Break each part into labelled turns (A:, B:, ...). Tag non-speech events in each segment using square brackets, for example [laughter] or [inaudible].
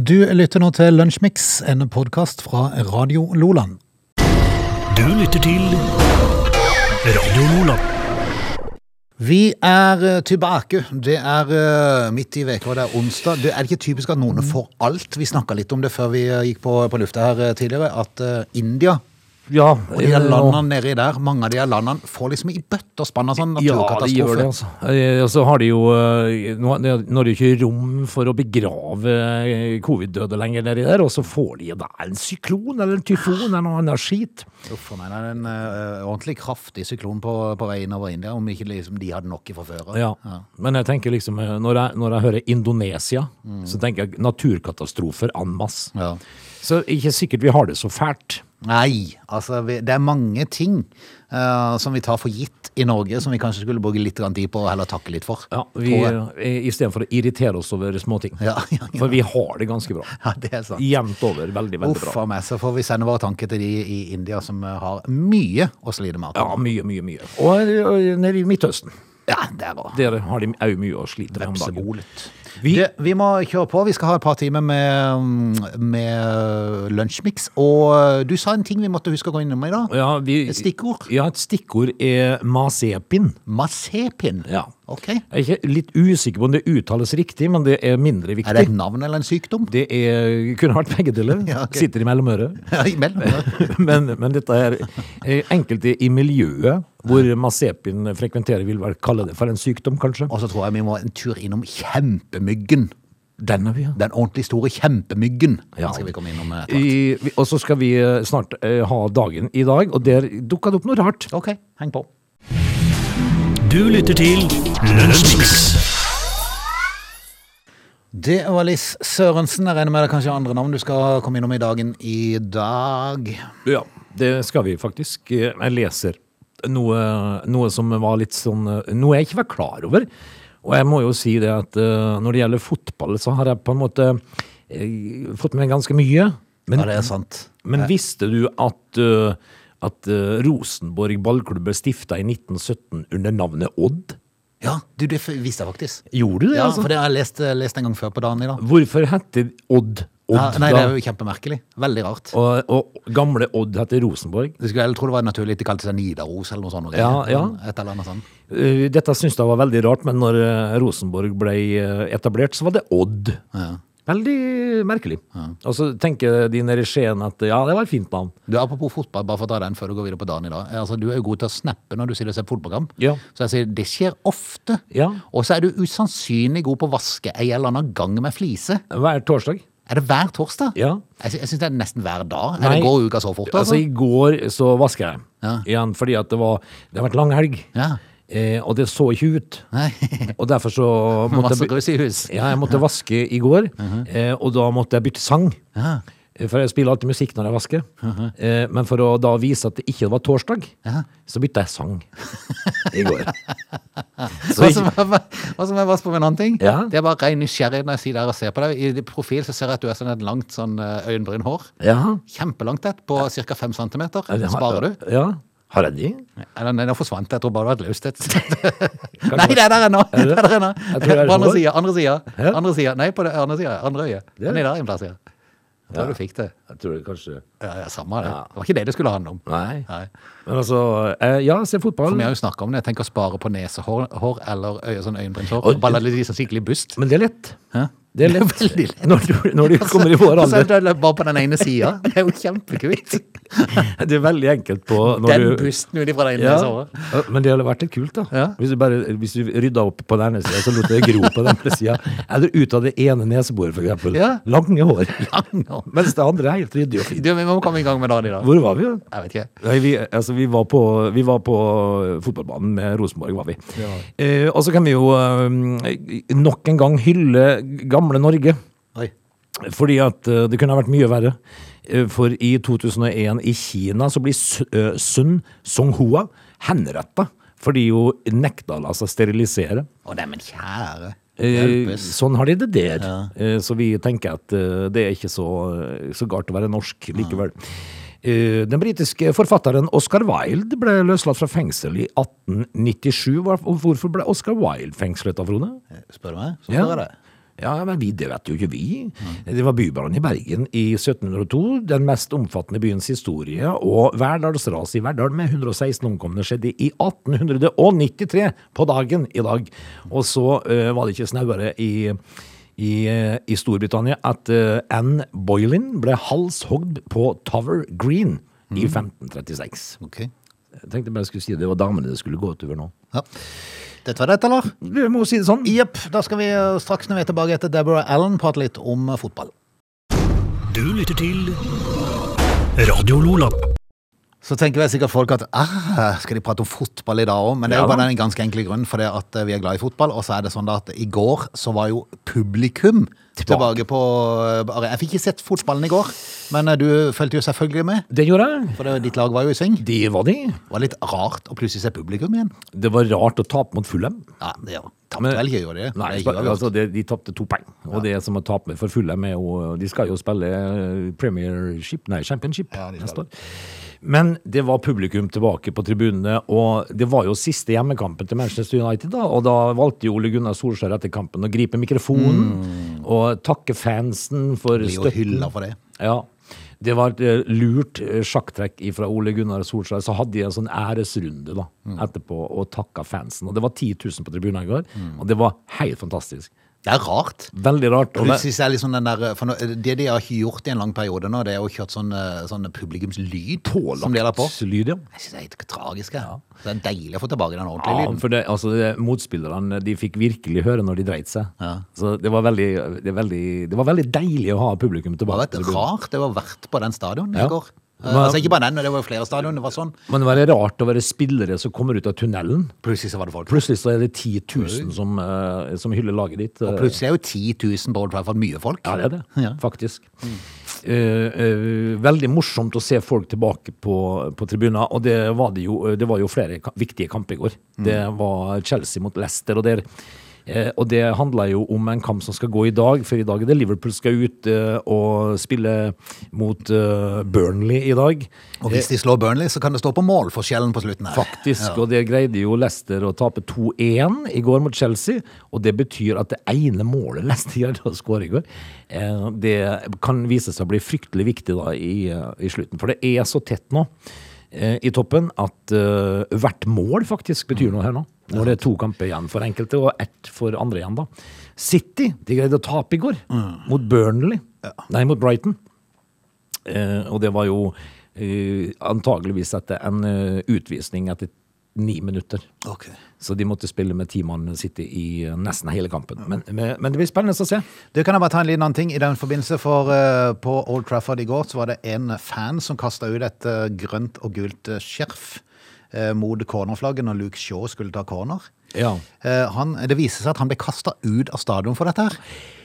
A: Du lytter nå til Lunsjmix, en podkast fra Radio Loland.
B: Du lytter til Radio Lola.
A: Vi er eh, tilbake. Det er eh, midt i veka, og det er onsdag. Det er ikke typisk at
C: Mhm.
A: noen får alt. Vi snakka litt om det før vi eh, gikk på, på lufta her eh, tidligere, at eh, India
C: Ja, eh,
A: og de der landene nedi der, mange av de her landene får liksom i bøtte og spann av sånn
C: Ja, de gjør det,
A: naturkatastrofe.
C: altså. Eh, Og så har de jo eh, Nå nå er det jo ikke rom for å begrave eh, covid-døde lenger nedi der, og så får de da en syklon eller en tyfon eller noe annet skit.
A: Uff a meg, det er en eh, ordentlig kraftig syklon på, på vei innover India, om ikke liksom, de hadde nok fra før av.
C: Ja. Men jeg tenker liksom eh, Når jeg, når jeg hører Indonesia,
A: Mm.
C: så tenker jeg naturkatastrofer en masse.
A: Ja.
C: Så ikke sikkert vi har det så fælt.
A: Nei, altså vi, det er mange ting eh, som vi tar for gitt i Norge, som vi kanskje skulle bruke litt grann tid på og heller takke litt for.
C: Ja, vi,
A: tror jeg.
C: eh, Istedenfor å irritere oss over småting.
A: Ja, [laughs] ja, ja.
C: For vi har det ganske bra.
A: ja, det er sant.
C: Jevnt over veldig, veldig
A: Uff
C: bra.
A: a meg, så får vi sende våre tanker til de i India som eh, har mye å slite med.
C: Ja, mye, mye, mye. Og, eh, og nede i Midtøsten.
A: Ja, der òg.
C: Der har de òg mye å slite med om dagen.
A: Vepsebolet. Vi,
C: Vi-
A: vi må kjøre på. Vi skal ha et par timer med, mm, med lunsjmix. Og eh, du sa en ting vi måtte huske å gå innom i dag.
C: Ja, vi,
A: Et stikkord.
C: Ja, et stikkord er masepin.
A: Masepin.
C: Ja.
A: Ok. Er
C: Jeg er ikke litt usikker på om det uttales riktig, men det er mindre viktig.
A: det et navn eller en sykdom? [laughs]
C: Det er, kunne vært begge deler.
A: Ja, ok.
C: Sitter
A: [laughs]
C: i mellomøret.
A: Ja, imellom.
C: men, men dette er eh, enkelte i miljøet hvor masepin frekventerer, vil vel kalle det for en sykdom, kanskje.
A: Og så tror jeg vi må en tur innom kjempemyggen.
C: Den har vi, ja.
A: Den ordentlig store kjempemyggen. Den
C: Ja.
A: skal vi komme innom eh, etter.
C: I, vi- og så skal vi eh, snart eh, ha dagen i dag, og der dukka det opp noe rart.
A: Ok, heng på.
B: Du lytter til Lunsjmix.
A: Det var Liss Sørensen. Jeg regner med det er kanskje andre navn du skal komme innom i dagen i dag.
C: Ja, det skal vi faktisk. Eh, Jeg leser noe, noe som var litt sånn eh, Noe jeg ikke var klar over. Og jeg må jo si det at eh, når det gjelder fotball, så har jeg på en måte eh, fått med ganske mye. Men,
A: Ja, det er sant.
C: men visste du at, eh, at eh, Rosenborg ballklubb ble stifta i 1917 under navnet Odd?
A: Ja, du, det f- visste jeg faktisk.
C: Gjorde du det,
A: Ja,
C: altså?
A: for det har jeg lest, eh, lest en gang før på dagen i dag.
C: Hvorfor heter Odd Odd?
A: Ja, nei, det
C: da?
A: er jo kjempemerkelig. Veldig rart.
C: og, og gamle Odd heter Rosenborg.
A: Du skulle heller tro det var naturlig at de kalte seg Nidaros eller noe sånt.
C: Ja, ja.
A: Et eller annet sånt.
C: Eh, Dette syns jeg var veldig rart, men når eh, Rosenborg ble eh, etablert, så var det Odd.
A: Ja.
C: Veldig merkelig. Og så tenker de nede i Skien at ja, det var et fint navn.
A: Du, Apropos fotball, bare for å ta den før du går videre på dagen i dag. Altså, du er jo god til å snappe når du sitter og ser fotballprogram.
C: Ja.
A: Så jeg sier det skjer ofte.
C: Ja.
A: Og så er du usannsynlig god på å vaske ei eller annen gang med flise.
C: Hver torsdag.
A: Er det hver torsdag?
C: Ja.
A: Jeg, sy- jeg syns det er nesten hver dag. Er
C: Nei.
A: det går uka så fort,
C: Altså,
A: altså?
C: i går så vasker jeg
A: Ja.
C: igjen, fordi at det var Det har vært lang helg,
A: Ja.
C: eh, og det så ikke ut.
A: Nei.
C: Og derfor så
A: [laughs]
C: måtte
A: Masse
C: jeg, by-
A: grus i hus. Mhm.
C: ja, jeg måtte vaske i går, eh, og da måtte jeg bytte sang.
A: Ja. [laughs]
C: Eh, For jeg spiller alltid musikk når jeg vasker. eh, men for å da vise at det ikke var torsdag,
A: Ja.
C: så bytta jeg
A: [laughs]
C: sang i går. Så
A: Hva
C: ikke-
A: som er, hva som er vask på med en annen ting?
C: Ja.
A: Det er bare ren nysgjerrighet når jeg sitter der og ser på deg. I din profil så ser jeg at du har sånn et langt sånn eh, øyenbrynhår.
C: ja.
A: Kjempelangt et, på ca. 5 cm.
C: Ja, det har-
A: Sparer du?
C: Ja. Har jeg de?
A: Eller nei, den forsvant. Jeg tror bare det var et løst
C: [laughs]
A: et sted. Nei, det er der ennå! Det er der ennå.
C: Jeg tror det er
A: På andre
C: hår.
A: sida, andre sida.
C: Hæ?
A: Andre sida. Nei, på det andre sida. Andre øyet.
C: er-
A: Den er der en plass, ja. Jeg tror du fikk det.
C: Jeg tror det kanskje
A: Ja, ja, samme det.
C: Ja.
A: Det var ikke det det skulle handle om.
C: Nei.
A: Nei.
C: Men altså eh, Ja, se fotball.
A: Vi har jo snakka om det. Jeg tenker å spare på nesehår hår eller øye, sånn øyenbrynshår. Og Bare la det bli sånn skikkelig bust.
C: Men det er lett.
A: Hæ?
C: [laughs] Det
A: [laughs]
C: er lett.
A: Veldig lett.
C: Når du,
A: [laughs]
C: når du kommer i vår
A: Og så er
C: alder.
A: det Bare på den ene sida. [laughs] Det er jo kjempekvitt.
C: Det er veldig enkelt på når
A: Den
C: du
A: busten ut ifra det ene
C: ja,
A: [laughs] nesehåret.
C: Ja, men det hadde vært litt kult, da.
A: Ja.
C: Hvis, du bare, hvis du rydda opp på den ene sida, så lot det gro på den andre sida. Eller ut av det ene neseboret, for eksempel.
A: Ja.
C: Lange hår.
A: Lang og-
C: Mens det andre er helt ryddig og fint.
A: Du, vi må komme i gang med dagen i dag.
C: Hvor var vi, da?
A: Jeg vet ikke.
C: Nei, vi, altså, vi, var på, vi var på fotballbanen med Rosenborg, var vi. Eh, og så kan vi jo eh, nok en gang hylle gamle Norge.
A: Oi.
C: Fordi at eh, det kunne ha vært mye verre. Eh, For i 2001 i Kina så blir Su- eh, Sun Songhua henretta. Fordi hun nekta å la seg sterilisere.
A: Å, neimen kjære.
C: Eh,
A: Hjelpes.
C: sånn har de det der.
A: Ja.
C: Eh, så vi tenker at eh, det er ikke så, eh, så galt å være norsk likevel. Eh, den britiske forfatteren Oscar Wilde ble løslatt fra fengsel i 1897. Hva- Hvorfor ble Oscar Wilde fengslet, da, Frode?
A: Spør du meg, så
C: Ja.
A: spør jeg deg.
C: Ja, men vi, det vet jo ikke vi. Det var bybrannen i Bergen i 1702, den mest omfattende byens historie, og Verdalsraset i Verdal med 116 omkomne skjedde i 1893 på dagen i dag. Og så eh, var det ikke snauere i, i, eh, i Storbritannia at eh, Anne Boylin ble halshogd på Tower Green i 1536.
D: Ok.
C: Jeg tenkte bare jeg skulle si det, det var damene det skulle gå utover nå.
D: Ja. Dette var det, eller?
C: Vi må si det sånn.
D: Jepp. Da skal vi eh, straks når vi er tilbake etter Deborah Allen prate litt om eh, fotball.
B: Du lytter til Radio Lola.
D: Så tenker vel sikkert folk at ah, skal de prate om fotball i dag òg? Men det er jo
C: Ja.
D: bare den ganske enkle grunnen, for det at eh, vi er glad i fotball. Og så er det sånn da at i går så var jo publikum tilbake, på eh, bare- Jeg fikk ikke sett fotballen i går, men eh, du fulgte jo selvfølgelig med.
C: Det gjorde jeg.
D: For det, ditt lag var jo i sving.
C: Det var de.
D: Det var litt rart å plutselig se publikum igjen.
C: Det var rart å tape mot Fulham.
D: Ja, det er jo
C: Men-
D: Tapte vel ikke, gjorde de det?
C: Nei,
D: Det er ikke
C: spa-
D: uavgjort.
C: altså det, de tapte to poeng. Og det som å tape for Fulham er jo De skal jo spille eh, premiership, nei, championship
D: Ja, de skal
C: neste år. Men det var publikum tilbake på tribunene, og det var jo siste hjemmekampen til Manchester United, da, og da valgte jo Ole Gunnar Solskjær etter kampen å gripe mikrofonen og takke fansen for
D: Blir Mm. jo
C: støtten.
D: hylla for det.
C: Ja. Det var et eh, lurt eh, sjakktrekk fra Ole Gunnar Solskjær. Så hadde de en sånn æresrunde da,
D: Mm.
C: etterpå og takka fansen. Og det var 10 000 på tribunen i går,
D: Mm.
C: og det var helt fantastisk.
D: Det er rart.
C: Veldig rart. Og det,
D: Plutselig så er liksom den der, for nå, det de har ikke gjort i en lang periode nå, det er jo kjørt sånn, eh, sånn publikumslyd som de har på.
C: lyd, ja.
D: Jeg synes det er helt tragisk. jeg. Det er deilig å få tilbake den ordentlige
C: Ja,
D: lyden.
C: for det, altså, det, motspillerne de fikk virkelig høre når de dreit seg.
D: Ja.
C: Så det var, veldig, det, er veldig, det var veldig deilig å ha publikum
D: Det var
C: tilbake.
D: et
C: på tribunen.
D: rart det var verdt på den stadion
C: Ja.
D: i går. Eh,
C: Men-
D: altså ikke bare den, men det var jo flere stadion. Det var sånn.
C: Men det var rart å være spillere som kommer ut av tunnelen.
D: Plutselig så var det folk.
C: Plutselig så er det 10 000 som, eh, som hyller laget ditt.
D: Og plutselig er jo 10 000 på Old Trafford mye folk.
C: Ja, det er det,
D: Ja.
C: faktisk. Eh, eh, veldig morsomt å se folk tilbake på, på tribunen, og det var, det, jo, det var jo flere ka- viktige kamper i går.
D: Mm.
C: Det var Chelsea mot Leicester, og, der, eh, og det handla jo om en kamp som skal gå i dag, for i dag er det Liverpool skal ut eh, og spille mot eh, Burnley i dag.
D: Og hvis de slår Burnley, så kan det stå på målforskjellen på slutten her.
C: Faktisk, og det greide jo Leicester å tape 2-1 i går mot Chelsea, og det betyr at det ene målet [laughs] Leicester gjør å skåre i går, eh, det kan vise seg å bli fryktelig viktig da i, eh, i slutten, for det er så tett nå eh, i toppen at eh, hvert mål faktisk betyr noe her nå. Når det er to kamper igjen for enkelte, og ett for andre igjen da. City, de greide å tape i går mot Burnley, nei, mot Brighton. Eh, og det var jo eh, antageligvis etter en eh, utvisning etter ni minutter.
D: Ok.
C: Så de måtte spille med ti mann City i eh, nesten hele kampen. Men, men, men det blir spennende å se.
D: Du kan jeg bare ta en liten annen ting i den forbindelse, for eh, på Old Trafford i går så var det en fan som kasta ut et eh, grønt og gult eh, skjerf eh, mot cornerflagget når Luke Shaw skulle ta corner.
C: Ja.
D: Eh, han, det viser seg at han ble kasta ut av stadion for dette her.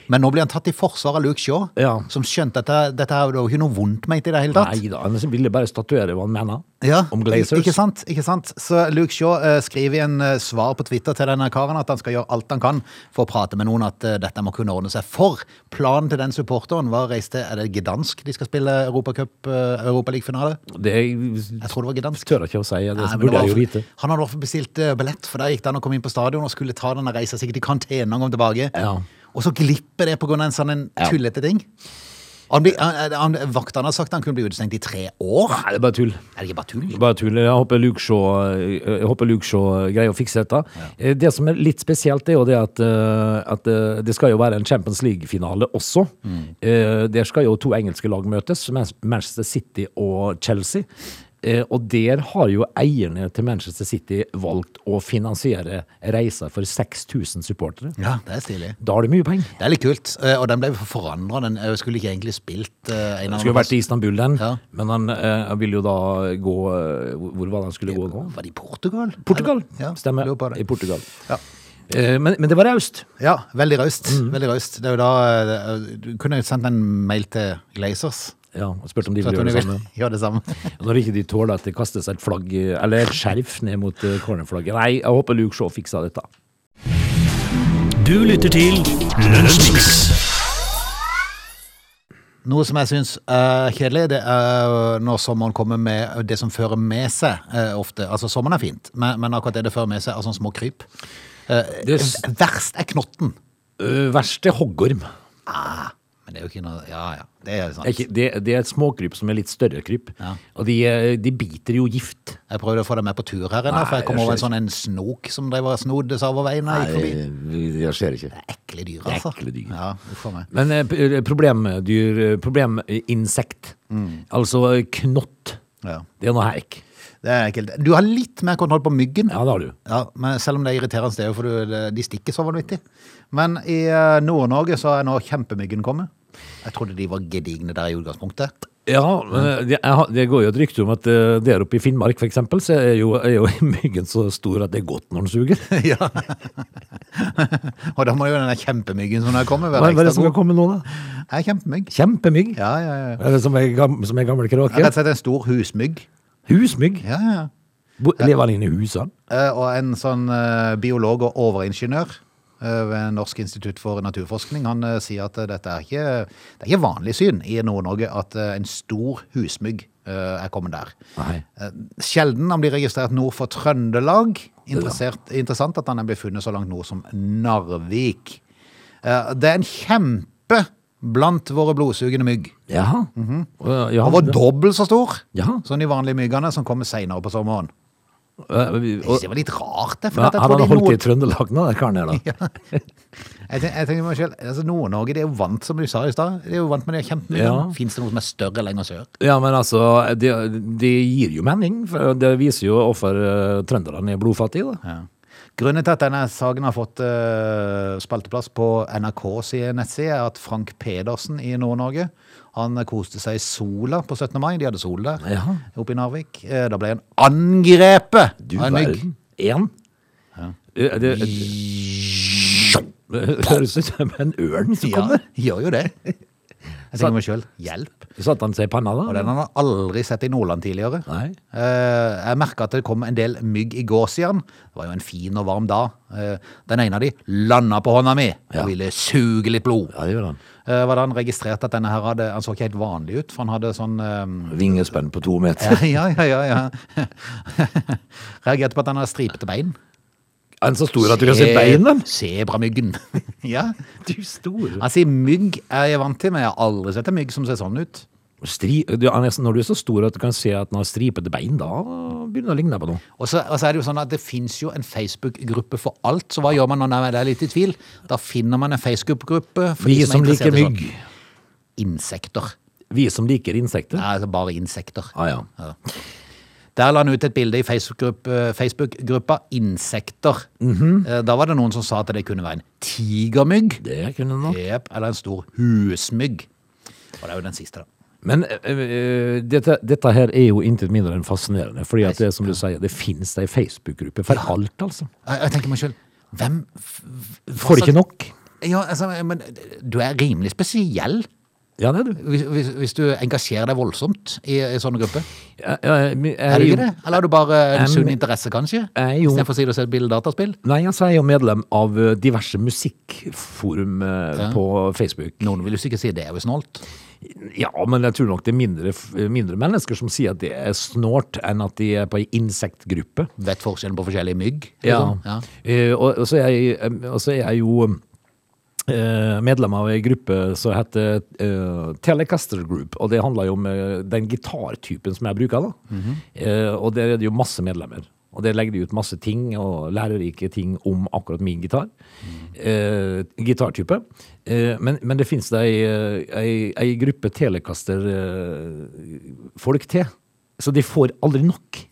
D: Men nå blir han tatt i forsvar av Luke Shaw,
C: Ja.
D: som skjønte at det, dette her var jo ikke noe vondt ment i det hele tatt.
C: Nei da, han ville bare statuere hva han mener
D: Ja,
C: om Glazers.
D: Ikke sant? ikke sant? Så Luke Shaw eh, skriver i en eh, svar på Twitter til denne karen at han skal gjøre alt han kan for å prate med noen at eh, dette må kunne ordne seg. For planen til den supporteren var å reise til Er det Gdansk de skal spille Europacup, eh, Europaliga-finale?
C: Det
D: Jeg tror det var Gdansk.
C: tør jeg ikke å si, det
D: Nei, men det
C: burde
D: var-
C: jeg jo vite.
D: Han hadde i hvert fall bestilt eh, billett, for der gikk det an å komme inn på stadion og skulle ta denne reisa sikkert i karantene og kom tilbake.
C: Ja.
D: Og så glipper det på grunn av en sånn en
C: Ja.
D: tullete ting. Han blir- han- han- Vaktene har sagt han kunne bli utestengt i tre år.
C: Nei, det er bare tull.
D: Er det ikke bare tull?
C: Bare tull. Jeg håper Luke Shaw, eh, jeg håper Luke Shaw greier å fikse dette. Eh, Det som er litt spesielt, er jo det at, eh, at eh, det skal jo være en Champions League-finale også. Eh, Der skal jo to engelske lag møtes, Man- Manchester City og Chelsea. Eh, Og der har jo eierne til Manchester City valgt å finansiere reiser for 6000 supportere.
D: Ja, det er stilig.
C: Da er det mye penger.
D: Det er litt kult, eh, og den ble forandra. Den eh, skulle ikke egentlig spilt eh, en
C: Den
D: av
C: skulle jo vært i Istanbul, den.
D: Ja.
C: Men han eh, vil jo da gå eh, Hvor hvor var det han skulle gå nå?
D: Var det i Portugal?
C: Portugal.
D: Eller- Ja,
C: Stemmer.
D: lurer på det.
C: I Portugal.
D: Ja.
C: Eh, Men, men det var raust.
D: Ja, veldig raust.
C: Mhm.
D: Veldig raust. Det er jo da eh, Du kunne jo sendt en mail til Glazers.
C: Ja, og spurte om de
D: for at
C: ville gjøre
D: hun
C: det samme.
D: [laughs] gjøre det samme.
C: Når ikke de tåler at det kastes et flagg, eh, eller et skjerf ned mot eh, cornerflagget. Nei, jeg håper Luke Shaw fiksa dette.
B: Du lytter til Lunsjmix.
D: Noe som jeg syns er kjedelig, det er når sommeren kommer med det som fører med seg eh, ofte. Altså, sommeren er fint, men, men akkurat det det fører med seg, er sånne små kryp. Eh,
C: Det er s-
D: Verst er knotten.
C: Øh, verst er hoggorm.
D: Ah, men det er jo ikke noe Ja, ja. Det er
C: Det er,
D: sant.
C: ikke, det, det er et småkryp som er litt større kryp.
D: Ja.
C: Og de, eh, de biter jo gift.
D: Jeg prøvde å få deg med på tur her, ennå,
C: Nei,
D: for jeg kom
C: jeg
D: over en
C: skjønner
D: sånn en snok som drev og snodde seg over veien. Jeg gikk forbi.
E: Nei, jeg ser ikke.
D: Ekle dyr, altså.
E: ekle dyr.
D: Ja, uff a meg.
C: Men eh, p- eh, problemdyr eh, Probleminsekt. Altså eh, knott.
D: Mm. Ja.
C: Det er noe herk.
D: Det er ekkelt. Du har litt mer kontroll på myggen.
C: Ja, det har du.
D: Ja, men selv om det er irriterende, det er jo for du- det- de stikker så vanvittig. Men i eh, Nord-Norge så er nå kjempemyggen kommet. Jeg trodde de var gedigne der i utgangspunktet.
C: Ja, men eh, det, jeg har- det går jo et rykte om at eh, der oppe i Finnmark for eksempel, så er jo, er jo [laughs] myggen så stor at det er godt når den suger.
D: ja. Og da må jo den der kjempemyggen som har kommet,
C: Hva
D: være
C: hva er det
D: ekstra
C: som
D: god.
C: kan komme nå, da?
D: Jeg er kjempemygg.
C: Kjempemygg?
D: Ja, ja, ja.
C: Er det som er, gam, som er gamle
D: Jeg er
C: kråker?
D: rett og slett en stor husmygg.
C: Husmygg?
D: Ja, ja, ja.
C: Bo- Lever han inne i husene?
D: Eh, Og en sånn eh, biolog og overingeniør eh, ved Norsk institutt for naturforskning, han eh, sier at eh, dette er ikke, det er ikke vanlig syn i Nord-Norge at eh, en stor husmygg eh, er kommet der.
C: Nei.
D: Eh, Sjelden han blir registrert nord for Trøndelag. Interessert, interessant at han er blitt funnet så langt nord som Narvik. Eh, Det er en kjempe blant våre blodsugende mygg.
C: Jaha. Og, ja,
D: Han var dobbelt så stor
C: Ja.
D: som de vanlige myggene som kommer seinere på sommeren.
C: Eh,
D: Jeg
C: og-
D: synes det var litt rart, det. For
C: Ja,
D: at jeg
C: han
D: tror
C: hadde
D: de
C: holdt
D: nord-
C: i Trøndelag nå, den karen her da.
D: Jeg tenker, jeg tenker meg selv, altså Nord-Norge det er jo vant, som du sa i stad, det er jo vant med det kjempemye.
C: Ja.
D: Fins det noe som er større lenger sør?
C: Ja, men altså, det, det gir jo mening. For det viser jo hvorfor eh, trønderne er blodfattige, da.
D: Ja. Grunnen til at denne saken har fått eh, spalteplass på NRKs nettside, er at Frank Pedersen i Nord-Norge han koste seg i sola på 17. mai. De hadde sol der
C: Ja.
D: oppe i Narvik. Eh, Da ble han angrepet
C: Du
D: av en mygg.
C: verden. Én. Eh, Det det høres ut som en ørn som
D: [laughs] Ja,
C: kommer.
D: gjør jo det. Jeg
C: Så-
D: tenker meg sjøl hjelp.
C: Satte han seg i panna,
D: Og
C: da?
D: den har han aldri sett i Nordland tidligere.
C: Nei.
D: Eh, jeg merka at det kom en del mygg i går siden. Det var jo en fin og varm dag. Eh, den ene av de landa på hånda mi og
C: Ja.
D: ville suge litt blod.
C: Ja, det gjør han.
D: Eh, var da han registrerte at denne her hadde Han så ikke helt vanlig ut, for han hadde sånn eh,
C: Vingespenn på to meter. [laughs]
D: Ja, ja, ja. [laughs] ja. Reagerte på at han hadde stripete bein. Eh,
C: En så stor at du kan se beina?
D: Sebramyggen. [laughs] ja.
C: Du store.
D: Han sier mygg er jeg vant til, men jeg har aldri sett en mygg som ser sånn ut.
C: Stri, du, han er, så- når du er så stor at du kan se at den har stripete bein, da begynner det å ligne på noe.
D: Og så, og så er det jo sånn at det finnes jo en Facebook-gruppe for alt, så hva gjør man når man er litt i tvil? Da finner man en Facebook-gruppe for
C: Vi som
D: er interessert
C: liker
D: i sånn.
C: mygg.
D: Insekter.
C: sånn. Vi som liker insekter.
D: Nei, altså bare insekter.
C: Ah, ja.
D: Der la han ut et bilde i Facebook-gruppe- Facebook-gruppa Insekter. Eh, Da var det noen som sa at det kunne være en tigermygg,
C: Det kunne den nok.
D: jep, eller en stor husmygg. Og det er jo den siste, da.
C: Men eh, eh, dette, dette her er jo intet mindre enn fascinerende. Fordi at det, som du sier, det finnes ei Facebook-gruppe for alt, altså.
D: Jeg, jeg tenker meg selv, hvem f- f-
C: Får det ikke nok?
D: Ja, altså, men du er rimelig spesiell.
C: Ja, det er du.
D: Hvis, hvis, hvis du engasjerer deg voldsomt i, i sånne grupper.
C: Ja, ja, men jeg
D: Er du
C: jo-
D: ikke det? Eller har du bare en
C: Em,
D: sunn interesse, kanskje?
C: er jo-
D: Istedenfor å si du ser et bilde dataspill?
C: Nei, altså, jeg er jo medlem av eh, diverse musikkforum eh,
D: Ja.
C: på Facebook.
D: Noen vil jo sikkert si det er jo snålt.
C: Ja, men jeg tror nok det er mindre, f- mindre mennesker som sier at det er snålt, enn at de er på ei insektgruppe.
D: Vet forskjellen på forskjellige mygg?
C: Ja.
D: liksom. ja.
C: Eh, og, og, så er jeg, eh, og så er jeg jo eh, medlem av ei gruppe som heter eh, Telecaster Group. Og det handler jo om eh, den gitartypen som jeg bruker, da. Eh, og der er det jo masse medlemmer. Og der legger de ut masse ting, og lærerike ting om akkurat min gitar. Eh, gitartype. Eh, men, men det fins ei, eh, ei, ei gruppe eh, Telecaster-folk til. Så de får aldri nok.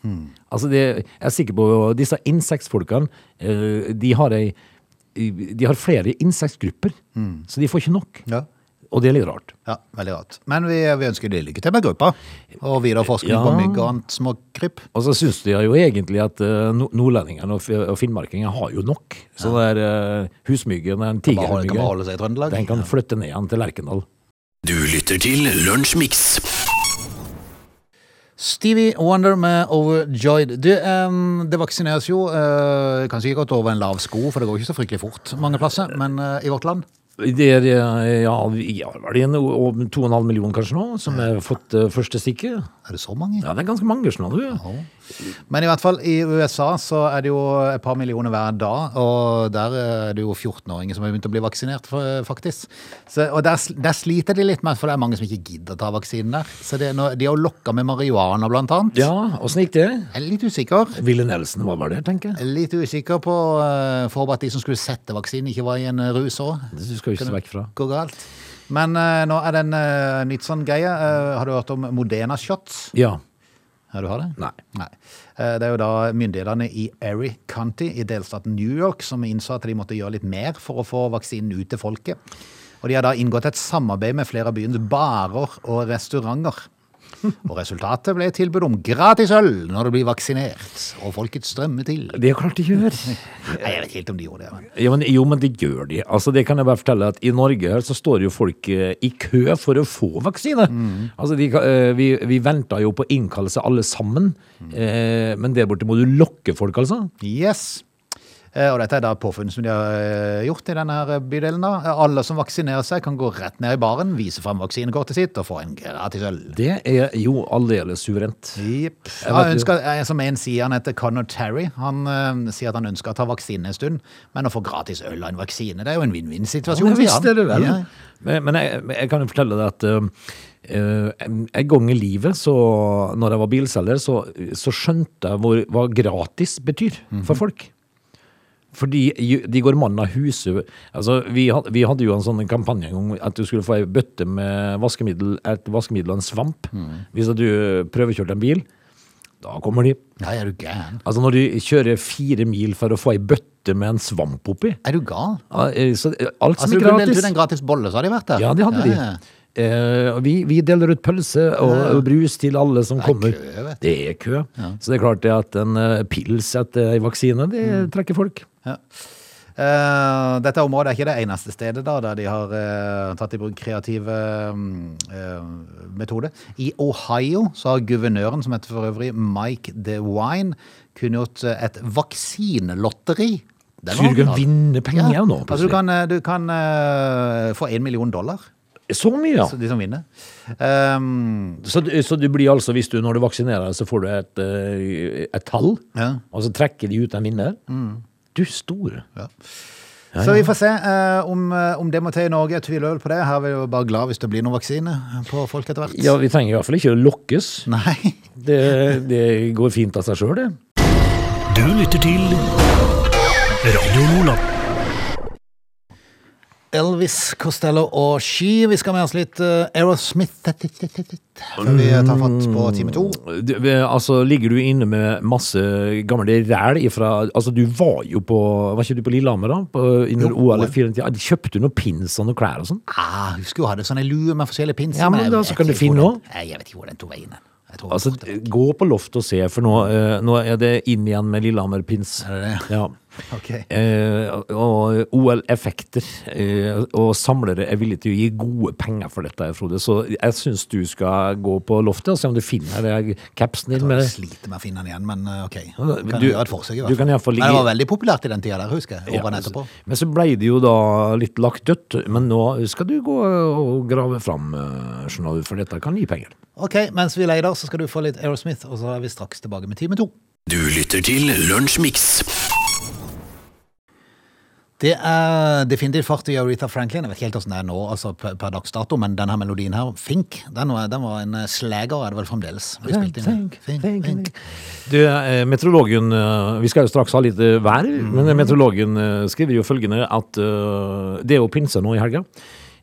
C: Altså det, jeg er sikker på disse insektfolkene, eh, de har, ei, de har flere insektgrupper, så de får ikke nok.
D: Ja.
C: Og det er litt rart.
D: Ja, Veldig rart. Men vi, vi ønsker deg lykke til med gruppa. Og videre forskning
C: Ja.
D: på mygg og annet småkryp.
C: Og så syns de jo egentlig at eh, no- nordlendingene og, fi- og finnmarkingene har jo nok. Så det er eh, husmyggen, den
D: Bare holde, kan bare holde
C: tigermyggen,
D: seg i Trøndelag.
C: den kan flytte ned igjen til Lerkendal.
B: Du lytter til Lunsjmix.
D: Stevie Wonder med Overjoyed. Du, em, det vaksineres jo eh, kanskje ikke godt over en lav sko, for det går ikke så fryktelig fort mange plasser, men eh, i vårt land
C: Det er, eh, ja, vi har vel en og 2,5 million kanskje nå, som har fått eh, første stikket.
D: Er det så mange?
C: Ja, det er ganske mange sånn, du.
D: Men i hvert fall i USA så er det jo et par millioner hver dag, og der er det jo 14-åringer som har begynt å bli vaksinert, fa- faktisk. Så, og der, sl- der sliter de litt med, for det er mange som ikke gidder å ta vaksinen der. Så det, er noe- de har jo lokka med marihuana, blant annet.
C: Ja, åssen gikk det?
D: Jeg er litt usikker.
C: Ville Nelson var bare der, tenker jeg.
D: Litt usikker på uh, at de som skulle sette vaksinen, ikke var i en eh, rus òg.
C: Du skal jo ikke se vekk fra.
D: Går galt. Men eh, nå er det en eh, nytt sånn greie. Eh, har du hørt om Modena Shots?
C: Ja.
D: Ja, du har det?
C: Nei.
D: Eh, Det er jo da myndighetene i Erie County i delstaten New York som innså at de måtte gjøre litt mer for å få vaksinen ut til folket. Og de har da inngått et samarbeid med flere av byens barer og restauranter. Og resultatet ble et tilbud om gratis øl når du blir vaksinert, og folket strømmer til.
C: Det er klart de gjør.
D: Nei, jeg vet ikke helt om de gjorde det. Men.
C: Ja, men, jo, men det gjør de. Altså, det kan jeg bare fortelle at I Norge her så står jo folk eh, i kø for å få vaksine. Altså, de, kan- eh, vi, vi venter jo på innkallelse alle sammen, eh, men der borte må du lokke folk, altså.
D: Yes. Eh, Og dette er da påfunn som de har eh, gjort i denne her bydelen. da. Eh, Alle som vaksinerer seg, kan gå rett ned i baren, vise fram vaksinekortet sitt og få en gratis øl.
C: Det er jo aldeles suverent.
D: Jepp.
C: Jeg
D: Han
C: vet
D: ønsker, eh, som en sier, han heter Connor Terry. Han eh, sier at han ønsker å ta vaksine en stund, men å få gratis øl av en vaksine, det er jo en
C: Jo,
D: vinn-vinn-situasjon.
C: men visst
D: sier han.
C: er det vel.
D: Ja.
C: Men, men jeg, men jeg kan jo fortelle deg at eh, eh, en en gang i livet, så, når jeg var bilselger, så, så skjønte jeg hvor, hva gratis betyr
D: Mhm.
C: for folk. Fordi ju- de går mannen av huset. Altså, vi, had, vi hadde jo en sånn kampanje en gang at du skulle få ei bøtte med vaskemiddel, et vaskemiddel og en svamp
D: Mhm.
C: hvis at du prøvekjørte en bil. Da kommer de.
D: Nei, er du gæren?
C: Altså når de kjører fire mil for å få ei bøtte med en svamp oppi.
D: Er du gal?
C: Ja, eh, Så eh, alt som
D: Altså, du
C: er
D: kunne
C: gratis.
D: delt ut en gratis bolle, så hadde de vært der.
C: Ja, det hadde de.
D: Ja, ja.
C: Eh, og vi, vi deler ut pølse og, og brus til alle som kommer.
D: kø, vet
C: det er kø. Så det er klart det at en eh, pils etter en vaksine, det
D: Mm.
C: trekker folk.
D: Eh, dette området er ikke det eneste stedet da, der de har eh, tatt i bruk kreative eh, eh, metoder. I Ohio så har guvernøren, som heter for øvrig Mike DeWine, kunngjort eh, et vaksinelotteri. Den
C: Så du kan
D: original.
C: vinne penger
D: Ja,
C: nå,
D: Altså,
C: plutselig.
D: du kan, eh, du kan eh, få en million dollar,
C: Så mye, ja.
D: så de som vinner. Ehm,
C: Så, du- så du blir altså, hvis du når du vaksinerer deg, så får du et, eh, et tall,
D: Ja.
C: og så trekker de ut en vinner.
D: Mm.
C: Du store.
D: så vi får se eh, om, eh, om det må til i Norge. Jeg tviler vel på det. Her er vi jo bare glad hvis det blir noen vaksine på folk etter hvert.
C: Ja, vi trenger i hvert fall ikke å lokkes.
D: Mm. Nei. [laughs]
C: Det, det går fint av seg sjøl, det.
B: Du lytter til Radio Nordland.
D: Elvis Costello og She. Vi skal med oss litt eh, Aerosmith før vi eh, tar fatt på
C: Mm.
D: time to.
C: Du, altså, ligger du inne med masse gamle ræl ifra Altså, du var jo på Var ikke du på Lillehammer, da? På, under
D: Jo,
C: OL i
D: OL.
C: 94? Kjøpte du noen pins og noen klær og sånn?
D: Ah, husker jo hadde sånne lue med forskjellige pinser.
C: Ja, men
D: jeg
C: da
D: vet
C: så kan du
D: ikke
C: finne
D: hvor
C: noe.
D: den- Nei, Jeg vet ikke hvor den tok veien. den. Jeg tror
C: Altså,
D: den borte.
C: gå på loftet og se, for nå, eh, nå er det inn igjen med Lillehammer-pins.
D: Er det
C: Ja.
D: Ok.
C: Eh, og OL-effekter. Eh, og samlere er villige til å gi gode penger for dette, Frode. Så jeg syns du skal gå på loftet og se om du finner det capsen din.
D: Jeg
C: Med,
D: sliter med å finne den igjen, men eh, ok.
C: men
D: Kan
C: du-
D: gjøre et forsøk, i
C: du
D: hvert
C: kan i hvert fall
D: fall. Men det
C: ligge- altså-
D: var veldig populært i den tida der, husker jeg. Årene
C: men så-
D: etterpå.
C: Men så ble det jo da litt lagt dødt, men nå skal du gå og grave fram, eh, skjønner du, for dette kan gi penger.
D: Ok, mens vi leider, så skal du få litt Aerosmith, og så er vi straks tilbake med time to.
B: Du lytter til Lunsjmix.
D: Det er definitivt fart i Aretha Franklin. Jeg vet ikke helt hvordan det er nå, altså per, per dags dato, men denne melodien her, Fink, den var, den var en eh, slager, er det vel fremdeles? vi spilte inn.
C: Think, think, think. Du, eh, meteorologen, eh, vi skal jo straks ha litt eh, vær,
D: Mm.
C: men meteorologen eh, skriver jo følgende at eh, det er jo pinse nå i helga.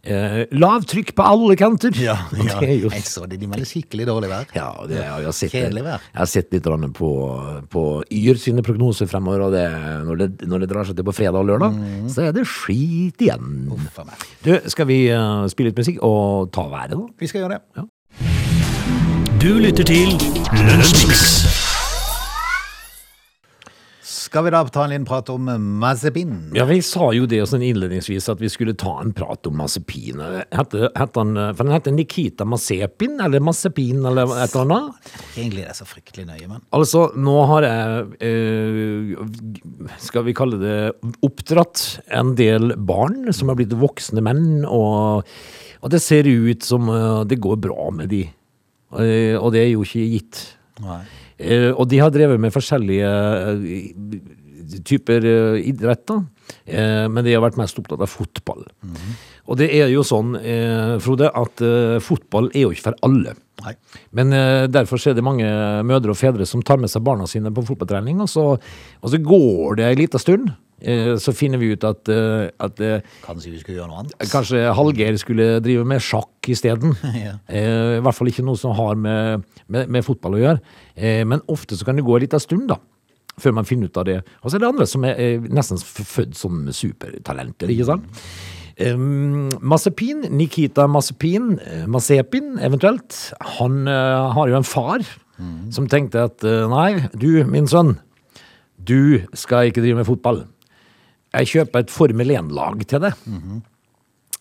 C: Eh, Lavtrykk på alle kanter! [laughs]
D: Ja,
C: Og
D: ja.
C: Det er jo
D: Jeg så det, de melder skikkelig dårlig vær.
C: Ja, det, jeg, har sett,
D: Kjedelig vær.
C: Jeg har sett litt grann på, på Yr sine prognoser fremover, og det, når, det, når det drar seg til på fredag og lørdag, så er det skit igjen.
D: Mm. Uff a meg.
C: Du, skal vi eh, spille litt musikk og ta været, da?
D: Vi skal gjøre det.
B: Du lytter til Lunsjmix.
D: skal vi da ta en liten prat om Mazepin?
C: Ja, vi sa jo det sånn innledningsvis at vi skulle ta en prat om Mazepin. Hette, hette han, eh, for han heter Nikita Mazepin, eller Mazepin, eller et eller annet.
D: Egentlig er det så fryktelig nøye, men
C: Altså, nå har jeg, eh, skal vi kalle det, oppdratt en del barn som har blitt voksne menn, og, og det ser ut som eh, det går bra med de. Eh, og det er jo ikke gitt.
D: Nei.
C: Eh, og de har drevet med forskjellige eh, typer eh, idrett, da. Eh, men de har vært mest opptatt av fotball. Og det er jo sånn, eh, Frode, at eh, fotball er jo ikke for alle.
D: Nei.
C: Men eh, derfor så er det mange mødre og fedre som tar med seg barna sine på fotballtrening, og så, og så går det en liten stund. Eh, så finner vi ut at, eh, at eh,
D: Kanskje vi skulle gjøre noe annet?
C: kanskje Hallgeir skulle drive med sjakk isteden.
D: Ja.
C: Eh, I hvert fall ikke noe som har med, med, med fotball å gjøre. Eh, men ofte så kan det gå en liten stund, da. Før man finner ut av det. Og så er det andre som er eh, nesten f- født som supertalenter, ikke sant? Um, Mazepin, Nikita Mazepin, eh, Mazepin eventuelt, han eh, har jo en far som tenkte at eh, nei, du min sønn, du skal ikke drive med fotball. Jeg kjøper et Formel 1-lag til deg.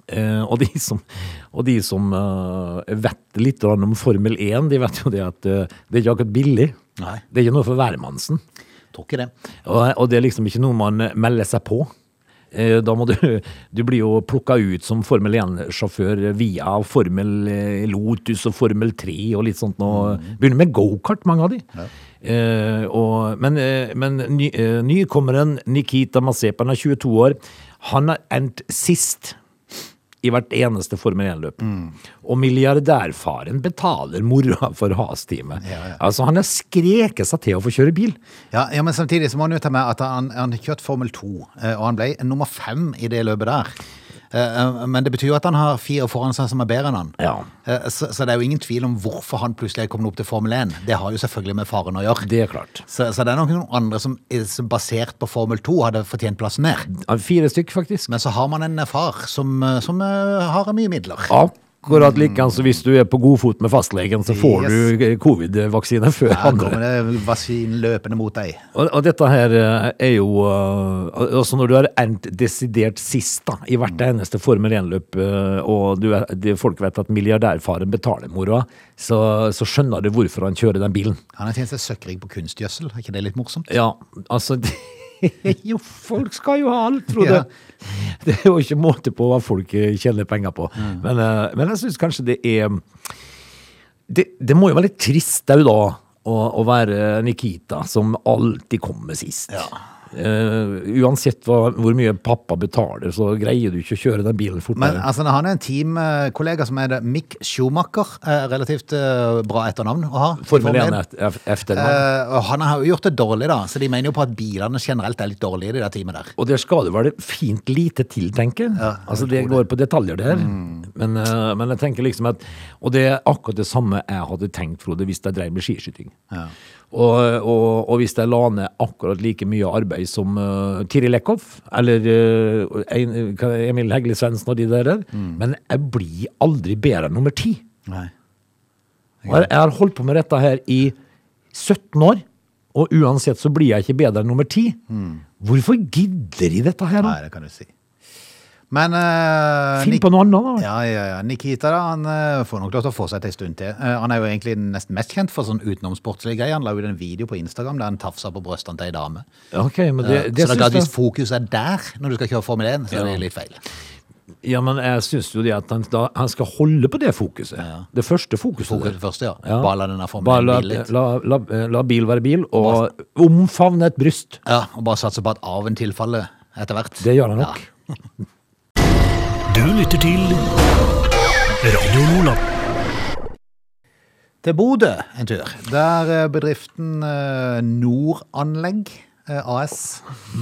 C: Eh, og de som, og de som eh, vet litt grann om Formel 1, de vet jo det at eh, det er ikke akkurat billig.
D: Nei.
C: Det er ikke noe for hvermannsen.
D: Tror ikke det.
C: Og, og det er liksom ikke noe man melder seg på. Eh, Da må du, du blir jo plukka ut som Formel 1-sjåfør via Formel eh, Lotus og Formel 3 og litt sånt. nå.
D: Mm.
C: Begynner med gokart, mange av de. Eh, og, men eh, men ny, eh, nykommeren Nikita Mazepan er 22 år. Han har endt sist i hvert eneste Formel 1-løp.
D: Mm.
C: Og milliardærfaren betaler mora for has-teamet.
D: Ja, ja.
C: Altså, han har skreket seg til å få kjøre bil.
D: Ja, ja, men samtidig så må han jo ta med at han, han har kjørt Formel 2, eh, og han ble nummer fem i det løpet der. Eh, eh, Men det betyr jo at han har fire foran seg som er bedre enn han.
C: Ja.
D: Eh, Så, så det er jo ingen tvil om hvorfor han plutselig er kommet opp til Formel 1. Det har jo selvfølgelig med faren å gjøre.
C: Det er klart.
D: Så, så det er nok noen andre som, er- som basert på Formel 2 hadde fortjent plassen der.
C: Ja, Fire stykk, faktisk.
D: Men så har man en far som, eh, som eh, har mye midler.
C: Akkurat likeens hvis du er på god fot med fastlegen, så får
D: Yes.
C: du eh, covid-vaksine før
D: Her
C: andre.
D: kommer det vasin løpende mot deg.
C: Og, og dette her eh, er jo eh, al- Altså når du har endt desidert sist da, i hvert
D: Mm.
C: eneste Formel 1-løp, eh, og du er, det, folk vet at milliardærfaren betaler moroa, så, så skjønner du hvorfor han kjører den bilen.
D: Han har tjent seg søkkrik på kunstgjødsel. Er ikke det litt morsomt?
C: Ja, altså det, [laughs] Jo, folk skal jo ha alt, Frode.
D: Ja.
C: Det er jo ikke måte på hva folk eh, tjener penger på. Men, eh, men jeg syns kanskje det er Det, det må jo være litt trist òg, da, å, å være Nikita som alltid kommer sist. Eh, uansett hva, hvor mye pappa betaler, så greier du ikke å kjøre den bilen
D: Men
C: fortere.
D: altså, han er en teamkollega som er det Mick Schumacher. eh, Relativt eh, bra etternavn å ha. i
C: Formel 1
D: Formel 1.
C: er et- er- efter
D: Eh,
C: meg.
D: og han har jo gjort det dårlig, da, så de mener jo på at bilene generelt er litt dårlige i det der teamet der.
C: Og der skal det være fint lite til, tenker jeg. altså, det går på detaljer der. Men, eh, men jeg tenker liksom at Og det er akkurat det samme jeg hadde tenkt, Frode, hvis jeg drev med skiskyting. Og, og, og hvis jeg la ned akkurat like mye arbeid som eh, Tiril Eckhoff eller eh, Ein- hva- Emil Hegle Svendsen og de der, der. men jeg blir aldri bedre enn nummer ti.
D: Nei.
C: Og jeg, jeg har holdt på med dette her i 17 år, og uansett så blir jeg ikke bedre enn nummer 10. Hvorfor gidder de dette her da?
D: Nei, det kan du si. Men eh,
C: Finn
D: Nick-
C: på noe annet da.
D: Ja, ja, ja. Nikita da, han eh, får nok lov til å få seg til en stund til. Eh, han er jo egentlig nesten mest kjent for sånn utenomsportslige greier. Han la ut en video på Instagram der han tafsa på brystene til ei dame.
C: Ok, men det,
D: Eh,
C: det
D: så det er
C: syns
D: klart,
C: jeg.
D: hvis fokuset er der når du skal kjøre Formel 1, så er det litt feil.
C: Ja, men jeg synes jo det at han, da, han skal holde på det fokuset. Det første fokuset.
D: Fokus
C: der.
D: først, ja.
C: Ja.
D: Bare la den der
C: Bare
D: Formel
C: la,
D: 1 hvile litt.
C: la, la, eh, la bil være bil, og omfavne et bryst.
D: Ja, og bare satse på at arven tilfaller etter hvert.
C: Det gjør han nok.
B: Du lytter til Radio Lola.
D: Til Bodø en tur. Der eh, bedriften eh, Nordanlegg eh, AS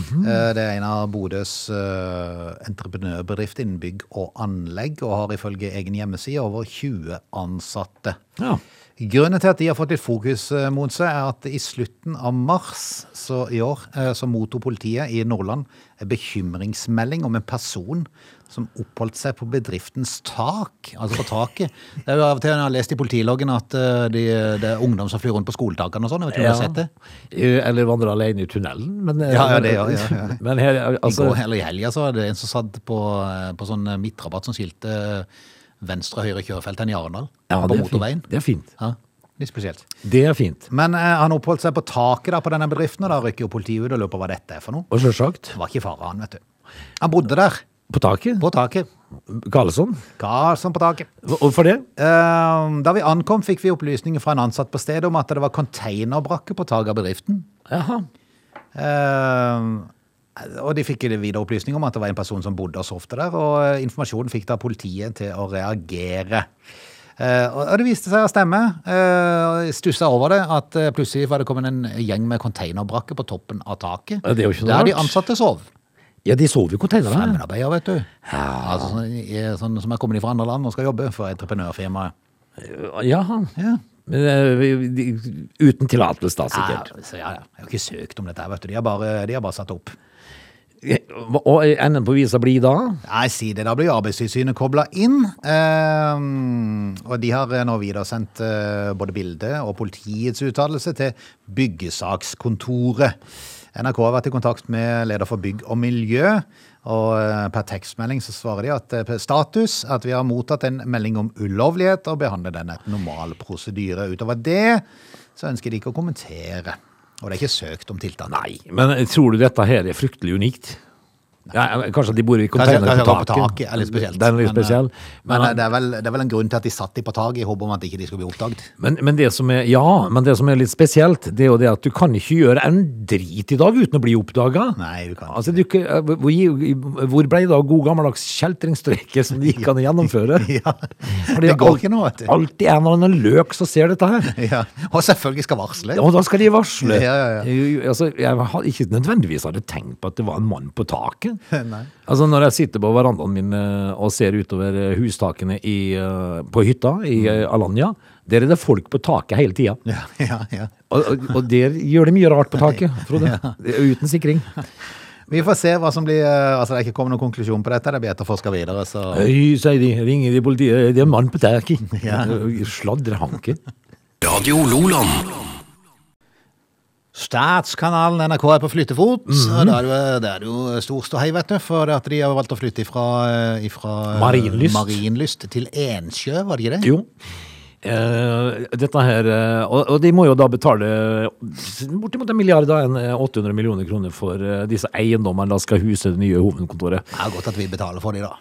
C: Mhm.
D: eh, Det er en av Bodøs eh, entreprenørbedrifter innen bygg og anlegg, og har ifølge egen hjemmeside over 20 ansatte.
C: Ja.
D: Grunnen til at de har fått litt fokus eh, mot seg, er at i slutten av mars så i år eh, så mottok politiet i Nordland en bekymringsmelding om en person som oppholdt seg på bedriftens tak, altså på taket. Det er jo av og til jeg har lest i politiloggen at eh, de, det er ungdom som flyr rundt på skoletakene og sånn. Jeg vet ikke om du har sett det?
C: Eh, Eller vandre alene i tunnelen. Men, eh,
D: Ja, ja, det, ja, ja, ja.
C: [laughs] men her,
D: I
C: altså,
D: går eller i helga så var det en som satt på, eh, på sånn eh, midtrabatt som skilte eh, venstre og høyre kjørefelt enn i Arendal,
C: ja,
D: på
C: det, er
D: motorveien.
C: fint. det er fint.
D: Ja, litt spesielt.
C: Det er fint.
D: Men eh, han oppholdt seg på taket da, på denne bedriften, og da rykker jo politiet ut og lurer på hva dette er for noe.
C: Og selvsagt,
D: Det var ikke fara han, vet du. Han bodde der,
C: på taket,
D: på taket.
C: Karlsson.
D: Karlsson på taket.
C: Hvorfor det?
D: Eh, da vi ankom fikk vi opplysninger fra en ansatt på stedet om at det var konteinerbrakke på taket av bedriften.
C: Jaha.
D: Eh, og de fikk videre opplysninger om at det var en person som bodde og sovte der, og eh, informasjonen fikk da politiet til å reagere. Eh, og og det viste seg å stemme. Uh, Stussa over det at eh, plutselig var det kommet en gjeng med containerbrakker på toppen av taket.
C: Ja, det er jo ikke noe
D: der de
C: rart.
D: ansatte sov.
C: Ja, de sover jo i containerne.
D: Fremmedarbeider, vet du. Altså, sånn, eh, sånn som er kommet fra andre land og skal jobbe for entreprenørfirmaet.
C: Jaha.
D: Ja.
C: Men, eh, vi- de- Uten tillatelse, da,
D: Ja,
C: sikkert.
D: så, ja, ja. Jeg har ikke søkt om dette, her, vet du. De har bare, de har bare satt opp.
C: Eh, Og enden på visa blir da?
D: Nei, si det. Da blir Arbeidstilsynet kobla inn. Ehm, og de har nå videresendt eh, både bildet og politiets uttalelse til byggesakskontoret. NRK har vært i kontakt med leder for bygg og miljø. Og eh, per tekstmelding så svarer de at eh, per status at vi har mottatt en melding om ulovlighet og behandler den etter normal prosedyre. Utover det så ønsker de ikke å kommentere. Og det er ikke søkt om tiltak.
C: Nei. Men eh, tror du dette her er fryktelig unikt? Ja, eh, kanskje at de bor i
D: Kanskje,
C: containere på
D: kanskje det Altså, var
C: taket.
D: på taket er litt spesielt.
C: Den er litt
D: Men, eh,
C: spesiell.
D: Men,
C: Men-
D: det, er vel, det er vel en grunn til at de satt de på taket i håp om at ikke de ikke skulle bli oppdaget.
C: Men, men det som er, ja, men det som er litt spesielt, det er jo det at du kan ikke gjøre en drit i dag uten å bli oppdaga.
D: Nei, du kan
C: Altså, du, ikke- eh, hvor, hvor ble det av god gammeldags kjeltringstreke som det gikk an å gjennomføre?
D: [laughs] Ja,
C: For
D: det
C: er
D: går
C: alt-
D: ikke noe, vet du.
C: Alltid en eller annen løk som ser dette her.
D: Ja. Og selvfølgelig skal varsle.
C: Og da skal de varsle.
D: Ja, ja, ja.
C: Jeg, altså, jeg har ikke nødvendigvis hadde tenkt på at det var en mann på taket.
D: [laughs] Nei.
C: Altså, når jeg sitter på verandaen min eh, og ser utover eh, hustakene i, eh, på hytta i eh, Alanya, der er det folk på taket hele tida.
D: Mm. Ja, ja, ja.
C: Og, og, og der gjør de mye rart på taket, Frode. Uten sikring.
D: Vi får se hva som blir eh, Altså, det er ikke kommet noen konklusjon på dette. Det blir etterforska videre, så
C: Høy, sier de. Ringer de politiet. Det er en mann på taket.
D: Ja.
C: Sladrehanke.
B: Radio Loland.
D: Statskanalen NRK er på flyttefot.
C: Mhm.
D: og Da er det jo- det er det jo stor ståhei, vet du. For det at de har valgt å flytte ifra, eh, ifra
C: Marienlyst.
D: Marienlyst til Ensjø, var det ikke det?
C: Jo. Eh, dette her eh, og, og de må jo da betale bortimot en milliard, da, en eh, 800 millioner kroner for eh, disse eiendommene da skal huse det nye hovedkontoret.
D: Det er godt at vi betaler for de da.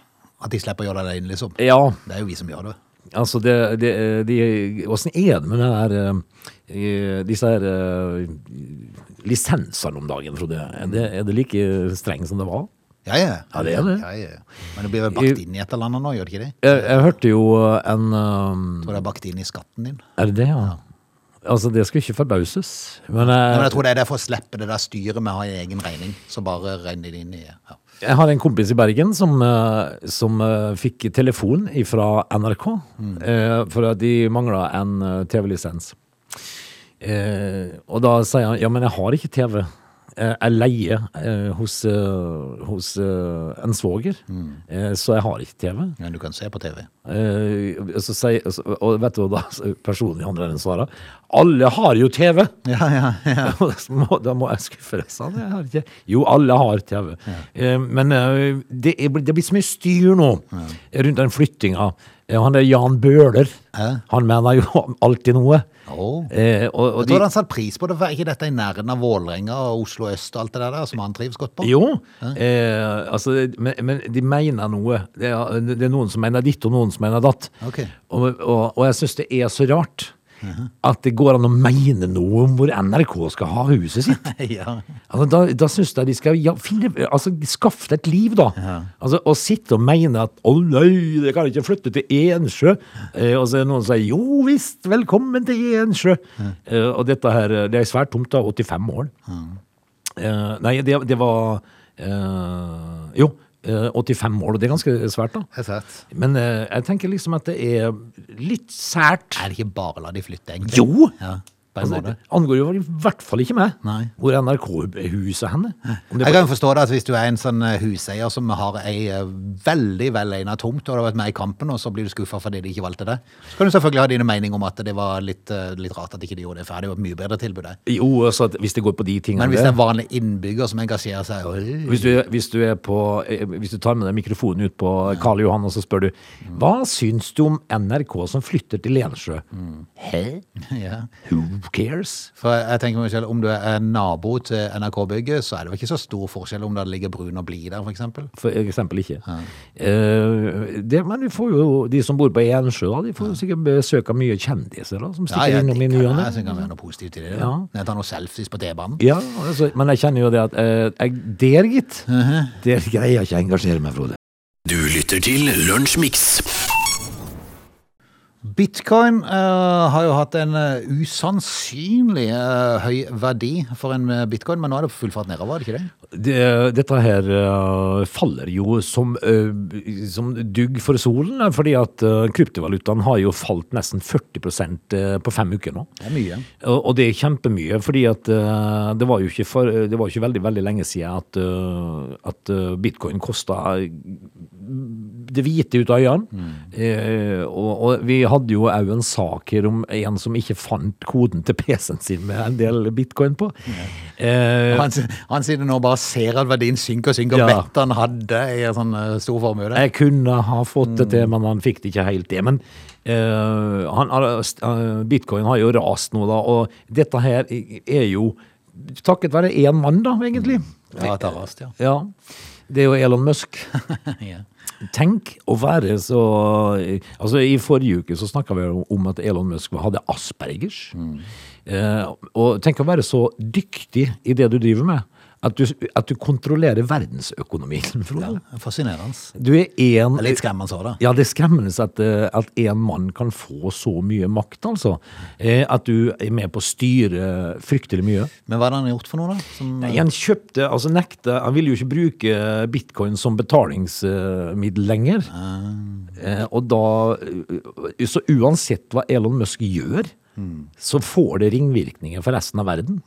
D: At de slipper å gjøre det inn, liksom.
C: Ja,
D: Det er jo vi som gjør det.
C: altså det, det eh, de, Åssen er det med det her, eh, eh, disse her eh, lisensene om dagen, Frode? Er det, er det like streng som det var?
D: Ja, ja.
C: Ja, det er det.
D: Ja, ja. Men det blir vel bakt inn i et eller annet nå, gjør det ikke det?
C: Jeg, jeg hørte jo en eh,
D: Tror det er bakt inn i skatten din.
C: Er det det, ja? Altså, det skulle ikke forbauses. Men,
D: Ja,
C: eh,
D: men jeg tror det er derfor å slippe det der styret med å ha egen regning. Så bare regner det inn i ja.
C: Jeg har en kompis i Bergen som, eh, som eh, fikk telefon fra NRK eh, for at de mangla en eh, TV-lisens. Eh, og da sier han ja, men jeg har ikke TV. Eh, Jeg leier eh, hos, eh, hos eh, en svoger, eh, så jeg har ikke TV.
D: Men du kan se på TV.
C: Eh, og så sier, og så- og vet du hva da personen i andre enden svarer? Alle har jo TV!
D: Ja, ja, ja.
C: [laughs] Og da må, da må jeg skuffe deg, sa han. Jeg har ikke. Jo, alle har TV. Eh, Men eh, det, er, bli- det blir så mye styr nå rundt den flyttinga. Eh, Han der Jan Bøhler,
D: Hæ?
C: han mener jo alltid noe.
D: Åh.
C: Eh, og,
D: Jeg
C: og de,
D: tror han satt pris på det. Var ikke dette i nærheten av Vålerenga og Oslo øst og alt det der, som han trives godt på?
C: jo, eh, altså, det- men, men de mener noe. Det er, det er noen som mener ditt, og noen som mener datt.
D: Ok.
C: Og, og, og jeg syns det er så rart at det går an å mene noe om hvor NRK skal ha huset sitt.
D: [laughs] Ja.
C: Altså, da da syns jeg de skal ja, finne, altså, skaffe deg et liv, da. Altså, å sitte og mene at 'å nei, det kan ikke flytte til Ensjø', eh, og så er det noen som sier 'jo visst, velkommen til Ensjø'. Eh, og dette her, eh, det er svært tomt, da. 85 mål. Eh, nei, det, det var eh, Jo, eh, 85 mål, og det er ganske svært, da.
D: Jeg har sett.
C: Men eh, jeg tenker liksom at det er litt sært.
D: Er det ikke bare å la de flytte, egentlig?
C: Jo!
D: Ja, på en
C: Altså,
D: måte.
C: det angår jo i hvert fall ikke meg
D: Nei.
C: hvor NRK-huset er henne. Om det
D: Jeg kan jo forstå det at hvis du er en sånn eh, huseier som har ei eh, veldig velegnet tomt, og du har vært med i kampen, og så blir du skuffa fordi de ikke valgte det, så kan du selvfølgelig ha dine mening om at det var litt, eh, litt rart at ikke de gjorde det ferdig, og et mye bedre tilbud. der.
C: Jo, altså, at hvis det går på de tingene
D: Men hvis det
C: der.
D: er en vanlig innbygger som engasjerer seg øh,
C: hvis, du, hvis, du er på, eh, hvis du tar med deg mikrofonen ut på Karl Johan og så spør du Hva syns du om NRK som flytter til Lensjø? Hæ?
D: [laughs] ja.
C: Who cares?
D: For jeg tenker meg selv, Om du er nabo til NRK-bygget, så er det vel ikke så stor forskjell om det ligger brun og blid der, f.eks.
C: For eksempel ikke. Eh, det, men du får jo, de som bor på Ensjø, da, de får jo sikkert besøk av mye kjendiser da, som stikker innom i ny og ne.
D: Jeg synes det kan være noe positivt i det. Ja.
C: Ja.
D: Jeg tar noen selfies på T-banen.
C: Ja, altså, men jeg kjenner jo det at eh, jeg, Der, gitt.
D: Mhm.
C: Der greier jeg ikke å engasjere meg, Frode.
B: Du lytter til Lunsjmix.
D: Bitcoin eh, har jo hatt en eh, usannsynlig eh, høy verdi for en eh, bitcoin, men nå er det full fart nedover, er det ikke det?
C: Det, dette her eh, faller jo som, eh, som dugg for solen, eh, fordi at eh, kryptovalutaen har jo falt nesten 40 eh, på fem uker nå.
D: Det er mye.
C: Og, og det er kjempemye, fordi at eh, det var jo ikke, for, det var ikke veldig, veldig lenge siden at, eh, at eh, bitcoin kosta det hvite ut av øynene. Eh, og, og vi hadde jo òg en sak her om en som ikke fant koden til PC-en sin med en del bitcoin på. Eh,
D: Han, han sier det nå bare ser at verdien synker og synker, og
C: Ja.
D: vettet han hadde i en sånn eh, stor formue. der.
C: Jeg kunne ha fått det til, men han fikk det ikke helt til. Men eh, han, har- eh, bitcoin har jo rast nå, da, og dette her er jo takket være én mann, da, egentlig.
D: Mm. Ja, det er rast, ja.
C: Ja. Det er jo Elon Musk.
D: ja.
C: Tenk å være så Altså, i forrige uke så snakka vi jo om at Elon Musk hadde aspergers. Eh, og tenk å være så dyktig i det du driver med, at du, at du kontrollerer verdensøkonomien, Frode.
D: Fascinerende.
C: Du er én
D: Det er litt skremmende så, da.
C: ja, det er skremmende at, eh, at en mann kan få så mye makt, altså. Eh, At du er med på å styre fryktelig mye.
D: Men hva er det han har gjort for noe, da? Som, eh,
C: Nei, Han kjøpte, altså nekte, han ville jo ikke bruke bitcoin som betalingsmiddel lenger. Eh, Og da, eh, så uansett hva Elon Musk gjør, så får det ringvirkninger for resten av verden.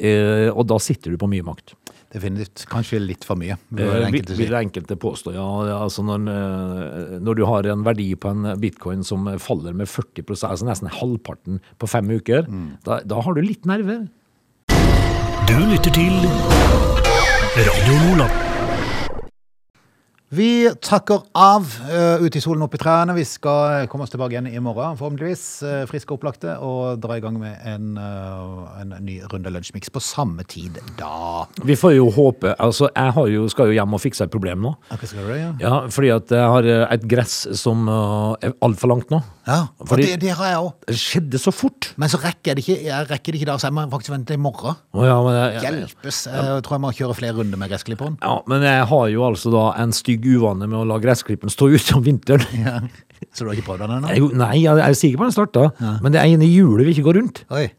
C: Eh, Og da sitter du på mye makt.
D: definitivt. Kanskje litt for mye. vil
C: Eh,
D: enkelte
C: Vil
D: si.
C: vil enkelte påstå, ja. ja, Altså når, eh, når du har en verdi på en bitcoin som faller med 40 altså nesten halvparten på fem uker,
D: Mm.
C: da, da har du litt nerver.
E: Du lytter til Radio Lola.
D: Vi takker av eh, ute i solen opp i trærne. Vi skal eh, komme oss tilbake igjen i morgen, forhåpentligvis. eh, friske og opplagte, og dra i gang med en, eh, en ny runde Lunsjmix på samme tid da.
C: Vi får jo håpe. Altså, jeg har jo, skal jo hjem og fikse et problem nå.
D: Hva skal du gjøre? Ja,
C: Ja, fordi at jeg har eh, et gress som eh, er altfor langt nå.
D: ja og
C: Fordi-
D: det, det har jeg òg.
C: Det skjedde så fort.
D: Men så rekker jeg det ikke Jeg rekker det ikke da, så jeg må faktisk vente til i morgen.
C: Å ja, men jeg- jeg-
D: Hjelpes. Eh, Jeg tror jeg må kjøre flere runder med gressklipperen.
C: ja, men jeg har jo altså da en stygg uvane med å la gressklippen stå [laughs] ute om vinteren.
D: Ja. [laughs] Så du har ikke prøvd den ennå?
C: Jeg, nei, jeg er sikker på den starta, men det er ene hjulet vil ikke gå rundt.
D: Oi.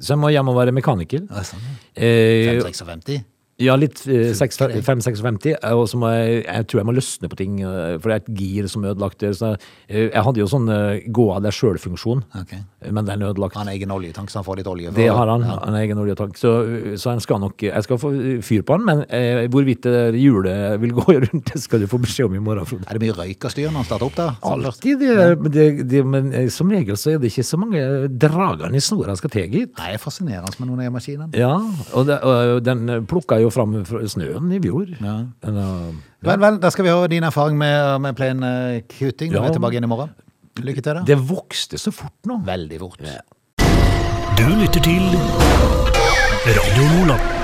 C: Så jeg må hjem og være mekaniker.
D: Ja, sånn.
C: Eh,
D: 5650?
C: ja, litt eh, 5-56-50. Og så må jeg Jeg tror jeg må løsne på ting, eh, for det er et gir som er ødelagt. der, Så jeg, eh, jeg hadde jo sånn eh, gå av deg sjøl-funksjon, eh,
D: Ok.
C: men den er ødelagt.
D: Han har egen oljetank, så han får litt olje. for-
C: Det har han. Han har egen oljetank. Så, så han skal nok Jeg skal få fyr på han, men eh, hvorvidt det hjulet vil gå [laughs] rundt, det skal du få beskjed om i morgen, Frode.
D: Er det mye røyk av styr når han starter opp der? Sånn først?
C: Alltid. Det, men det, det, men eh, som regel så er det ikke så mange dragene i snora skal til, gitt.
D: Nei, det er fascinerende med noen av maskinene.
C: Ja, og, det, og den plukka jo fram fra snøen i fjor. Den, eh,
D: Vel, vel, da skal vi høre din erfaring med, med plain eh, kutting når
C: Ja.
D: vi er tilbake igjen i morgen. Lykke til, da.
C: det vokste så fort nå.
D: Veldig fort.
E: Du lytter til Radio Lola.